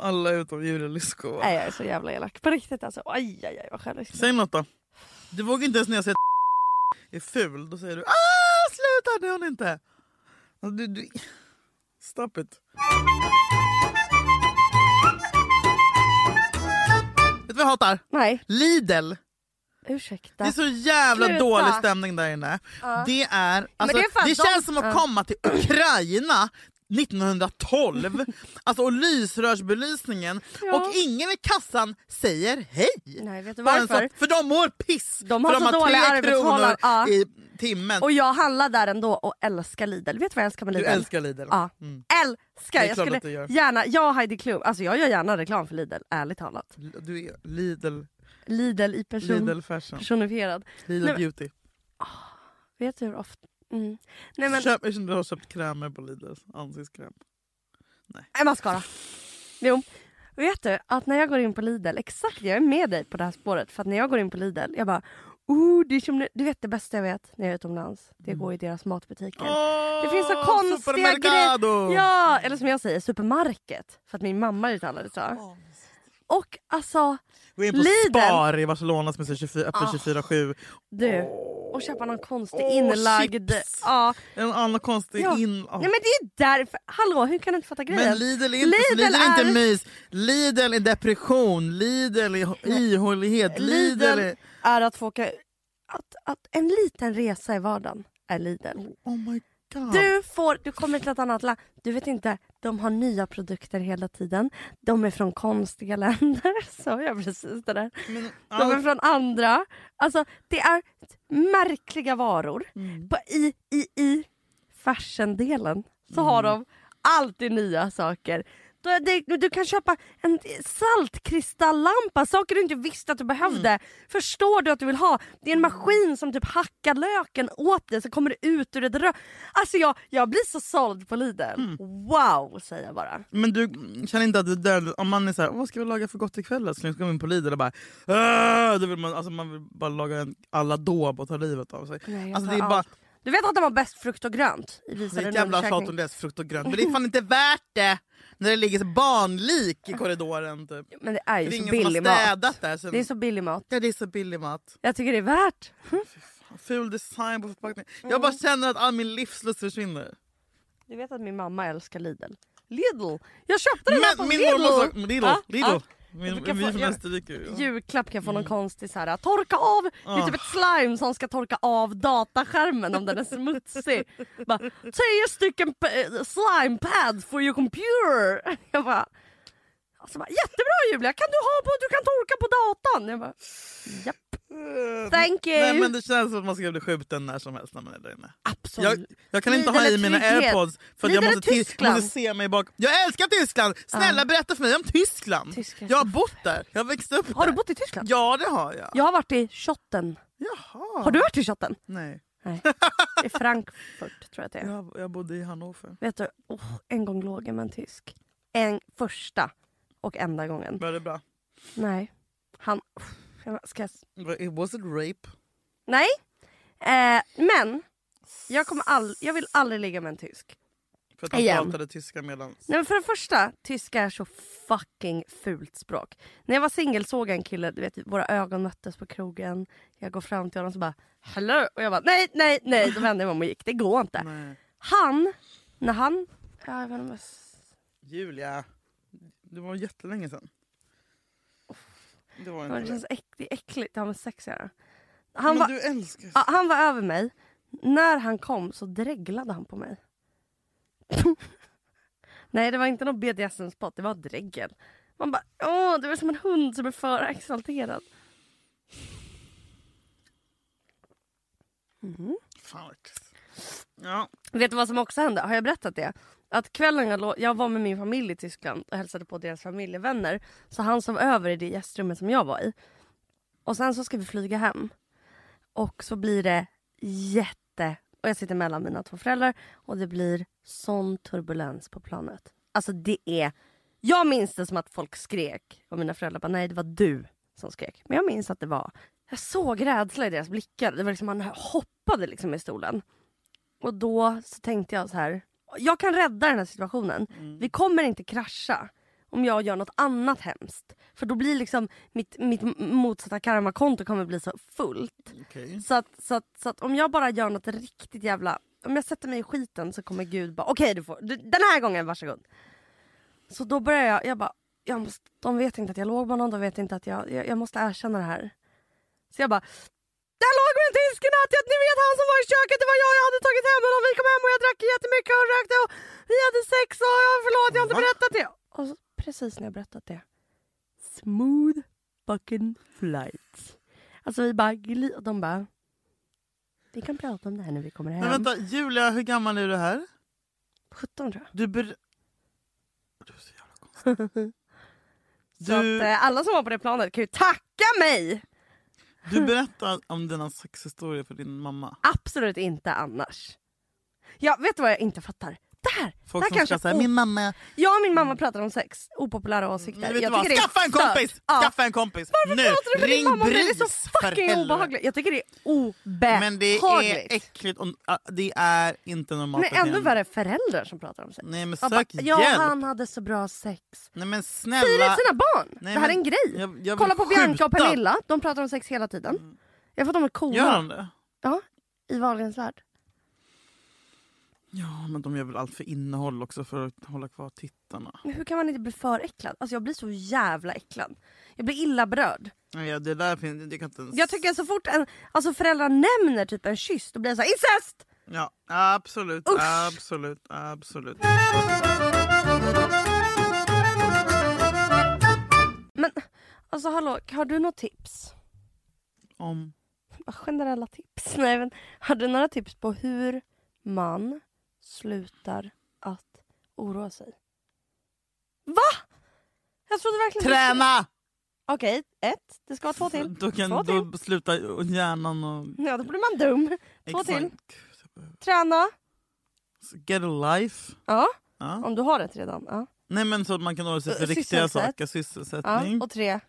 S2: Alla utom Julia Lyskova.
S3: Nej jag är så jävla elak. På riktigt alltså. Aj aj aj vad självisk.
S2: Säg något då. Du vågar inte ens när jag säger att är ful. Då säger du ah sluta det är hon inte. Alltså, Du, du... Stop it. Vet du Vet du vad jag hatar?
S3: Nej,
S2: Lidl.
S3: ursäkta.
S2: Det är så jävla
S3: Sluta.
S2: dålig stämning där inne. Det, är, alltså,
S3: det är för att
S2: det,
S3: de-
S2: känns som att komma till Ukraina 1912 alltså, och lysrörsbelysningen
S3: Ja.
S2: och ingen i kassan säger hej.
S3: Nej, vet du
S2: Bara en
S3: varför?
S2: sån- för de mår piss.
S3: De har
S2: för
S3: så dåliga
S2: tre
S3: arbetsförhållanden.
S2: kronor
S3: Ja.
S2: i timmen.
S3: Och jag handlar där ändå och älskar Lidl. Vet du vad jag älskar med
S2: du
S3: Lidl?
S2: älskar Lidl.
S3: Ja.
S2: Mm.
S3: Älskar!
S2: Det är
S3: Jag
S2: klart att
S3: skulle
S2: du gör.
S3: gärna, jag och Heidi Klum, alltså jag gör gärna reklam för Lidl, ärligt talat.
S2: Du är Lidl,
S3: Lidl i person,
S2: Lidl fashion,
S3: personifierad.
S2: Lidl
S3: Nej, men-
S2: beauty.
S3: Vet du hur ofta... Mm. Nej men,
S2: Köp, jag känner att du har köpt krämer på Lidl, ansiktskräm.
S3: en mascara. Jo. Vet du att när jag går in på Lidl, exakt jag är med dig på det här spåret. För att när jag går in på Lidl, jag bara oh, det är som, du vet det bästa jag vet när jag är utomlands, det är att gå i deras matbutiker. Det finns så
S2: Mm. Åh,
S3: konstiga
S2: supermercado!
S3: grejer. Ja, eller som jag säger, supermarket. För att min mamma är utvandrare tror jag. Och alltså,
S2: Gå in på
S3: Lidl. Ah.
S2: Spar i Barcelona som är så 24 öppet 24-7.
S3: du. Och köpa någon konstig
S2: Åh,
S3: inlagd...
S2: chips.
S3: Ja,
S2: En annan konstig
S3: ja.
S2: in...
S3: Nej men det är därför. Hallå, hur kan du inte fatta grejen?
S2: Men Lidl är inte, Lidl är inte mys, Lidl är depression, Lidl är ihålighet, Lidl
S3: Lidl
S2: är...
S3: är att få åka... Att, att en liten resa i vardagen är Lidl.
S2: Oh my god.
S3: Du, får, du kommer till ett annat land. Du vet inte, de har nya produkter hela tiden. De är från konstiga länder. Så jag precis det där.
S2: Men,
S3: De är
S2: allt-
S3: från andra. Alltså det är märkliga varor.
S2: Mm.
S3: På, I, i, i fashion-delen så har de alltid nya saker. Du, det, du kan köpa en saltkristallampa, saker du inte visste att du behövde. Förstår du att du vill ha? Det är en maskin som typ hackar löken åt dig så kommer det ut ur ett rör. Alltså jag, jag blir så såld på Lidl. Wow säger jag bara.
S2: men du känner inte att du dör, om man är så här, vad ska vi laga för gott ikväll älskling? Så går man in på Lidl och bara "Åh!" då vill man, alltså man vill bara laga en aladåb och ta livet av sig.
S3: Nej, jag
S2: alltså,
S3: tar
S2: det är bara
S3: allt. Du vet att de har bäst frukt och grönt?
S2: det är
S3: Visade
S2: ett
S3: en
S2: jävla tjat
S3: undersökning.
S2: om deras frukt och grönt men det är fan inte värt det när det ligger så barnlik i korridoren. Typ.
S3: Men det är ju
S2: Det är
S3: så
S2: ingen
S3: billig
S2: som har städat
S3: mat.
S2: där. Sen,
S3: Det är så billig mat.
S2: ja, det är så billig mat.
S3: Jag tycker det är värt.
S2: Ful design på förpackningen. Jag bara känner att all min livslust försvinner.
S3: Du vet att min mamma älskar Lidl. Lidl! Jag köpte den här på
S2: Men min
S3: Lidl!
S2: mormor sa... Lidl!
S3: Ja,
S2: Lidl. Mm.
S3: ja.
S2: Min,
S3: Jag
S2: vi
S3: får-
S2: från
S3: jag-
S2: Österrike. ju.
S3: Julklapp kan få någon konstig så här, "Ah, torka av. Det är
S2: Ah.
S3: typ ett slime som ska torka av dataskärmen om den är smutsig. Bara, Tio stycken p- eh, slime pads for your computer. Jag bara, alltså bara, jättebra Julia, kan du ha på, du kan torka på datan. Jag bara, japp. Thank you.
S2: Eh, Nej, men det känns som att man ska bli skjuten när som helst när man är där inne.
S3: Absolut.
S2: Jag, jag kan inte
S3: Lidl
S2: ha
S3: är
S2: i mina
S3: trygghet.
S2: airpods för att jag
S3: Lidl är
S2: måste, till,
S3: Tyskland.
S2: måste se mig bak. Jag älskar Tyskland! Snälla berätta för mig om Tyskland!
S3: Tyskland.
S2: Jag har bott där, jag har växt upp
S3: Har du
S2: där.
S3: bott i Tyskland?
S2: Ja det har jag.
S3: Jag har varit i Schotten.
S2: Jaha.
S3: Har du varit i Schotten?
S2: Nej,
S3: Nej. I Frankfurt tror jag att det är.
S2: jag, jag bodde i Hannover.
S3: Vet du, oh, en gång låg jag med en tysk. En första och enda gången.
S2: Var det bra?
S3: Nej. Han... uff, jag- Ska jag... s-
S2: It was it rape?
S3: Nej. Eh, men jag, kommer all... jag vill aldrig ligga med en tysk.
S2: För att han
S3: Igen.
S2: pratade tyska medan...
S3: Nej, men för det första, tyska är så fucking fult språk. När jag var singel såg jag en kille, du vet, våra ögon möttes på krogen. Jag går fram till honom och bara “hello” och jag bara “nej, nej, nej”. Då vände jag mig om och gick. Det går inte.
S2: Nej.
S3: Han, när han... Ja, jag vet inte om jag s-
S2: Julia, det var jättelänge sedan. Det var
S3: Ja,
S2: inte
S3: Det
S2: det.
S3: känns äck, det är äckligt det har med sex att göra. Han,
S2: Men
S3: var,
S2: du älskar
S3: ja, han var över mig. När han kom så dreglade han på mig. Nej det var inte någon BDSM-spot, det var dregel. Man bara åh du är som en hund som är för exalterad.
S2: Fan vad äckligt. Ja.
S3: Vet du vad som också hände? Har jag berättat det? Att kvällen jag, lå- jag var med min familj i Tyskland och hälsade på deras familjevänner. Så han sov över i det gästrummet som jag var i. Och sen så ska vi flyga hem. Och så blir det jätte... Och jag sitter mellan mina två föräldrar och det blir sån turbulens på planet. Alltså det är... Jag minns det som att folk skrek och mina föräldrar bara nej det var du som skrek. Men jag minns att det var... Jag såg rädsla i deras blickar. Det var liksom man hoppade liksom i stolen. Och då så tänkte jag så här. Jag kan rädda den här situationen. Vi kommer inte krascha om jag gör något annat hemskt. För då blir liksom mitt, mitt m- motsatta karmakonto kommer bli så fullt.
S2: Okej.
S3: Så att, så, att, så att om jag bara gör något riktigt jävla... Om jag sätter mig i skiten så kommer Gud bara okej du får, du, den här gången varsågod. Så då börjar jag, jag bara jag måste, de vet inte att jag låg med honom, de vet inte att jag, jag, jag måste erkänna det här. Så jag bara, där låg med den tysken att jag, ni vet han som var i köket, det var jag, jag hade tagit hem honom, vi kom hem och jag drack jättemycket och rökte och vi hade sex och jag, förlåt jag har inte
S2: Va?
S3: berättat det. Och så, precis när jag berättat det, smooth fucking flight. Alltså vi bara, gli- och de bara, vi kan prata om det här när vi kommer hem.
S2: Men vänta, Julia, hur gammal är du här?
S3: 17 tror jag.
S2: Du ber... Du är så jävla konstig.
S3: Så
S2: Du-
S3: att, eh, alla som var på det planet kan ju tacka mig!
S2: Du berättar om dina sexhistorier för din mamma.
S3: Absolut inte annars. Ja, vet du vad jag inte fattar? Det här!
S2: Folk
S3: det
S2: som
S3: här kanske
S2: ska säga
S3: o-
S2: min mamma...
S3: Jag och min mamma pratar om sex. Opopulära åsikter.
S2: Men vet du
S3: jag
S2: vad?
S3: tycker det är
S2: Skaffa en
S3: stört.
S2: kompis!
S3: Ja.
S2: Skaffa en kompis!
S3: Varför pratar du med din mamma om det? Det är
S2: BRIS,
S3: så
S2: för
S3: fucking
S2: helvete.
S3: obehagligt. Jag tycker det är obehagligt.
S2: Men det är äckligt. Och, ah, det är inte normalt.
S3: Men
S2: att det
S3: ännu
S2: är-
S3: värre föräldrar som pratar om sex.
S2: Nej men
S3: Jag
S2: sök
S3: bara,
S2: hjälp!
S3: ja, han hade så bra sex.
S2: Nej men
S3: Säger det
S2: snälla!
S3: till sina barn.
S2: Nej,
S3: det här är
S2: men
S3: en grej.
S2: jag- jag vill
S3: Kolla på Bianca och
S2: skjuta. Mm.
S3: Pernilla. De pratar om sex hela tiden. Jag får dem att coola.
S2: Gör de det?
S3: Ja, i Wahlgrens värld.
S2: Ja men de gör väl allt för innehåll också för att hålla kvar tittarna.
S3: Men hur kan man inte bli för äcklad? Alltså jag blir så jävla äcklad. Jag blir illa berörd.
S2: Ja, det där finns... Det kan inte ens...
S3: Jag tycker så fort en, alltså föräldrar nämner typ en kyss då blir jag så här incest!
S2: Ja, absolut.
S3: Usch.
S2: Absolut, absolut.
S3: Men alltså hallå, har du något tips?
S2: Om...
S3: Bara Generella tips? Nej men har du några tips på hur man slutar att oroa sig? Va? Jag trodde verkligen
S2: Träna!
S3: Okej, ett. Det ska vara två till.
S2: Då kan
S3: Två till.
S2: då sluta hjärnan och...
S3: Ja då blir man dum. Två
S2: Exakt.
S3: till.
S2: Gud, jag behöver-
S3: Träna.
S2: Get a life.
S3: Ja,
S2: Ja.
S3: om du har ett redan. Ja.
S2: Nej men så att man kan oroa sig för
S3: Ö,
S2: riktiga
S3: Eh, sysselsätt.
S2: saker.
S3: ja.
S2: Sysselsättning.
S3: Och tre.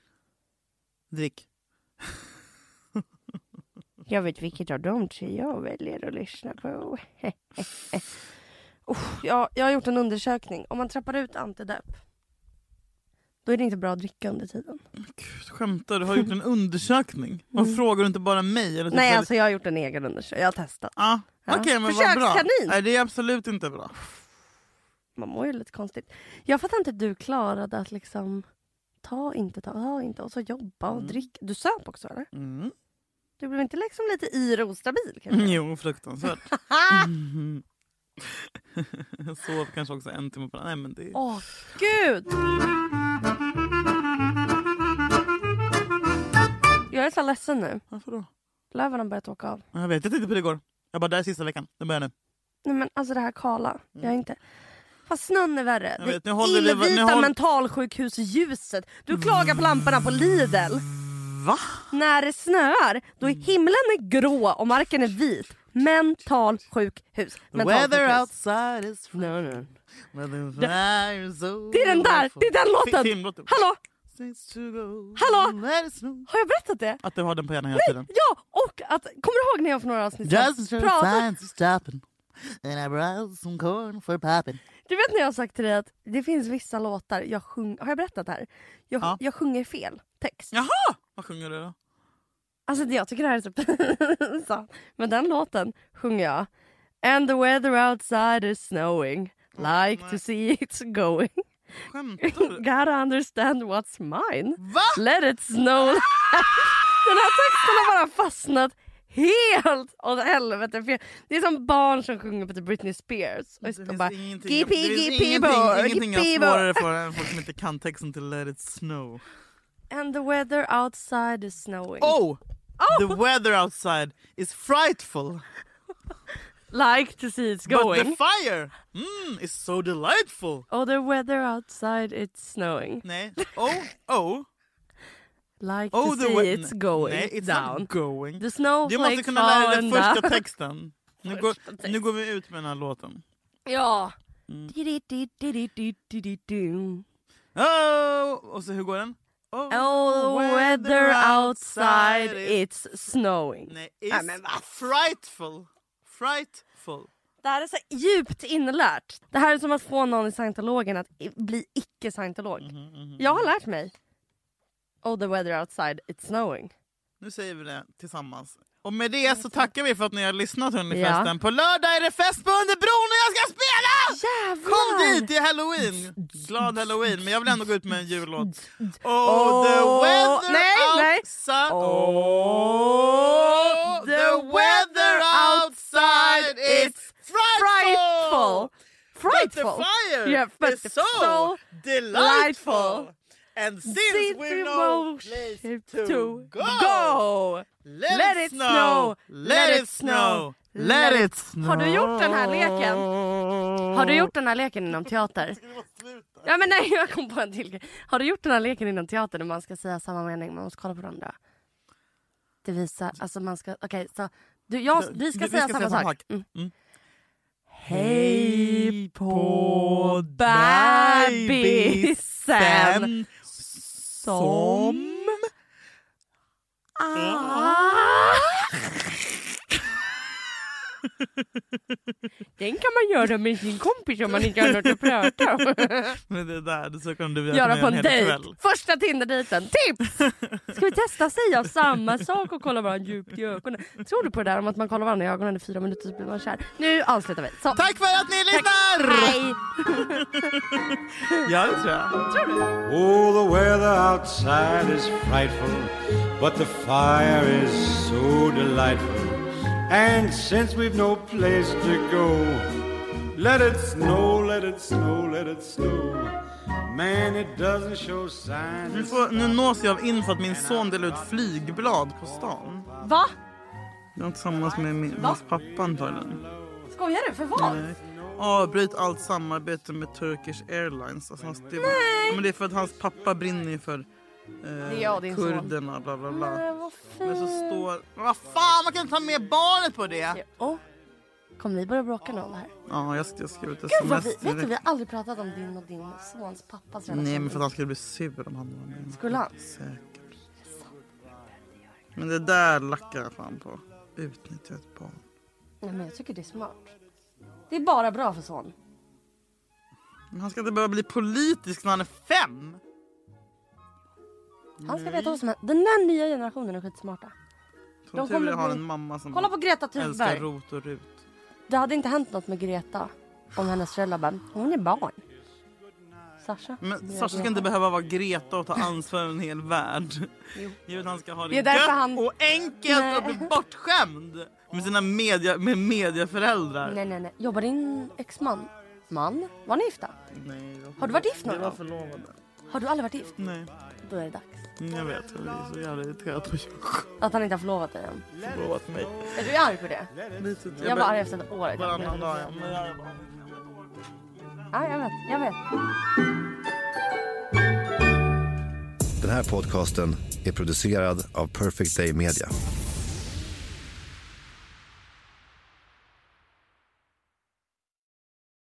S2: Drick.
S3: Jag vet vilket av de tre jag väljer att lyssna på. Uff, jag, jag har gjort en undersökning. Om man trappar ut antidepp, då är det inte bra att dricka under tiden.
S2: Gud, skämtar du? Har gjort en undersökning? Varför frågar du inte bara mig? Eller typ
S3: Mm. Nej,
S2: så-
S3: alltså jag har gjort en egen undersökning. Jag har testat.
S2: Ja.
S3: Ja.
S2: Okej men vad bra.
S3: Försökskanin.
S2: Nej det är absolut inte bra.
S3: Man mår ju lite konstigt. Jag fattar inte att du klarade att liksom ta inte, ta, ta inte och så jobba och dricka. Du söp också eller?
S2: Mm.
S3: Du blev inte liksom lite yr och ostabil kanske?
S2: Jo fruktansvärt. Mhm. Jag sov kanske också en timme på natten. Nej men det är...
S3: Åh, gud! Jag är så ledsen nu.
S2: Varför då?
S3: Löven har börjat åka av.
S2: Jag vet, jag tänkte på det igår. Jag bara, det här är sista veckan. Det börjar nu.
S3: Nej men alltså det här kala. Jag är inte... Fast snön är värre.
S2: Jag
S3: Det
S2: vet, nu håller det-
S3: illvita
S2: nu håll-
S3: mentalsjukhusljuset. Du klagar på lamporna på Lidl.
S2: Va?
S3: När det snöar, då är himlen är grå och marken är vit. Mentalsjukhus.
S2: The weather
S3: Mentalsjukhus.
S2: outside is
S3: No, no.
S2: weather fire so
S3: Det är den där! Det är den låten!
S2: Filmlåten.
S3: Hallå!
S2: Saints typ. to go,
S3: Hallå?
S2: let it snow.
S3: Har jag berättat det?
S2: Att du har den på hjärnan hela
S3: Nej,
S2: tiden.
S3: ja! Och att, kommer du ihåg när jag för några avsnitt
S2: Just
S3: sedan
S2: for
S3: pratade...
S2: signs of stopping And I brought some corn for popping
S3: Du vet när jag har sagt till dig att det finns vissa låtar jag sjung... Har jag berättat det här? Jag,
S2: Ja.
S3: jag sjunger fel text.
S2: Jaha! Vad sjunger du då?
S3: Alltså det- jag tycker det här är så pinsamt. Men den låten sjunger jag. And the weather outside is snowing.
S2: Oh
S3: Like to see it's going.
S2: Skämtar du?
S3: Gotta understand what's mine.
S2: Va?
S3: Let it snow. den här texten har bara fastnat helt åt helvete fel. Det är som barn som sjunger på typ Britney Spears. Och, och bara
S2: ingenting,
S3: Gippy,
S2: det finns
S3: gippy,
S2: ingenting,
S3: bo,
S2: ingenting jag
S3: gippy,
S2: har
S3: bo.
S2: svårare för än folk som inte kan texten till Let it snow.
S3: And the weather outside is snowing.
S2: Oh! The weather outside is frightful
S3: Like to see it's
S2: but the
S3: going.
S2: fire mm, is so delightful.
S3: oh the weather outside it's snowing.
S2: Nej, oh, oh,
S3: Like
S2: oh
S3: to see
S2: we-
S3: it's going
S2: Nej, it's
S3: down.
S2: not going.
S3: The snowflake
S2: Du måste kunna lära dig den
S3: fallen
S2: första
S3: down.
S2: texten. Nu går, nu går vi ut med den här låten.
S3: Ja.
S2: Hmm.
S3: Di-di-di-di-di-di-di-di.
S2: Oh, och så hur går den?
S3: Oh, the weather outside it's snowing.
S2: Nej,
S3: Nej,
S2: is
S3: men vad
S2: frightful. Frightful.
S3: Det här är så djupt inlärt. Det här är som att få någon i scientologen att i- bli icke-scientolog.
S2: Mhm,
S3: Jag har lärt mig. Oh, the weather outside it's snowing.
S2: Nu säger vi det tillsammans. Och med det så tackar vi för att ni har lyssnat hörni,
S3: Ja.
S2: festen. På lördag är det fest på Underbron och jag ska spela!
S3: Jävlar!
S2: Kom dit, det är halloween! Glad halloween, men jag vill ändå gå ut med en jullåt. Oh, the
S3: Åh,
S2: weather
S3: nej, nej.
S2: outside...
S3: Oh,
S2: Oh, the weather outside is frightful!
S3: Frightful! Frightful!
S2: But the fire
S3: Yeah, but
S2: is
S3: the
S2: so
S3: so
S2: delightful. And since,
S3: Since
S2: we know place
S3: shape
S2: to, go,
S3: go.
S2: Let,
S3: Let
S2: it
S3: it snow,
S2: let it snow, let it snow.
S3: Har du gjort den här leken? Har du gjort den här leken inom teater? Ja men nej jag kom på en till grej. Har du gjort den här leken inom teater när man ska säga samma mening man måste kolla på varandra? Det visar, alltså man ska, okej så du, jag, vi ska
S2: Du-
S3: säga samma sak. Mm. Hej på
S2: på
S3: bebisen som
S2: Som...
S3: Den kan man göra med sin kompis om man inte har något att prata om.
S2: Men det där så kommer du vilja
S3: göra
S2: med
S3: på
S2: en
S3: en
S2: hel
S3: dejt.
S2: kväll.
S3: Första Tinder-dejten. Tips! Ska vi testa säga samma sak och kolla varandra djupt i ögonen? Tror du på det där om att man kollar varandra i ögonen i fyra minuter så blir man kär? Nu avslutar vi. Så.
S2: Tack för att ni lyssnar!
S3: Hej!
S2: Ja, det tror jag.
S5: Oh, the weather outside is frightful, but the fire is so delightful. And since we've no place to go, let it snow, let it snow, let it snow. Man, it doesn't show signs.
S2: Nu,
S5: of
S2: får, nu nås jag av info att min son delar ut flygblad på stan.
S3: Va?
S2: Jag är tillsammans med min, hans pappa antagligen.
S3: Skojar du? För vad?
S2: Avbryt allt samarbete med Turkish Airlines. Alltså, hans, det, Nej. Men det är för att hans pappa brinner ju för
S3: är jag och din
S2: eh,
S3: son.
S2: kurderna. Bla, bla, bla.
S3: Men Eh, vad
S2: Men så
S3: fint.
S2: står... Vad fan, man kan inte ta med barnet på det!
S3: Åh, Kommer vi börja bråka någon här?
S2: Ja, jag, jag skrev ut
S3: Gud, vad vi,
S2: sms.
S3: vet du, vi har aldrig pratat om din och din sons pappas relation.
S2: Nej, men för att han skulle bli sur om han var med.
S3: Skulle han?
S2: Säkert. Men det där lackar jag fan på. Utnyttja ett barn.
S3: Nej, men jag tycker det är smart. Det är bara bra för son.
S2: Men han ska inte behöva bli politisk när han är fem!
S3: Han
S2: Mm.
S3: ska veta vad som händer. Den där nya generationen är skitsmarta.
S2: Som
S3: De
S2: tur
S3: kommer
S2: är har
S3: bli-
S2: en mamma som
S3: Kolla på Greta
S2: älskar
S3: Thunberg.
S2: rot och rut.
S3: Det hade inte hänt något med Greta om hennes föräldrar bara, hon är barn. Sasha.
S2: Men
S3: Nya
S2: Sasha ska
S3: Greta.
S2: inte behöva vara Greta och ta ansvar för en hel värld. Jo. att han ska ha det,
S3: Det är därför
S2: gött
S3: han-
S2: och enkelt och bli bortskämd med sina media, med mediaföräldrar.
S3: Nej, nej, nej. Jobbar din exman? Man? Var ni gifta?
S2: Nej, jag-
S3: Har du varit gift någon
S2: Vi var
S3: gång?
S2: förlovade.
S3: Har du aldrig varit gift?
S2: Nej,
S3: Då är det dags.
S2: jag vet. Jag är så jävla irriterad på
S3: Att han inte har förlovat dig än.
S2: jag har förlovat mig.
S3: Är du arg på det?
S2: Lite till.
S3: Jag var arg efter ett år.
S2: Varannan dag. ja. Men jag är bara-
S3: Ja, jag vet. Jag vet.
S6: Den här podcasten är producerad av Perfect Day Media.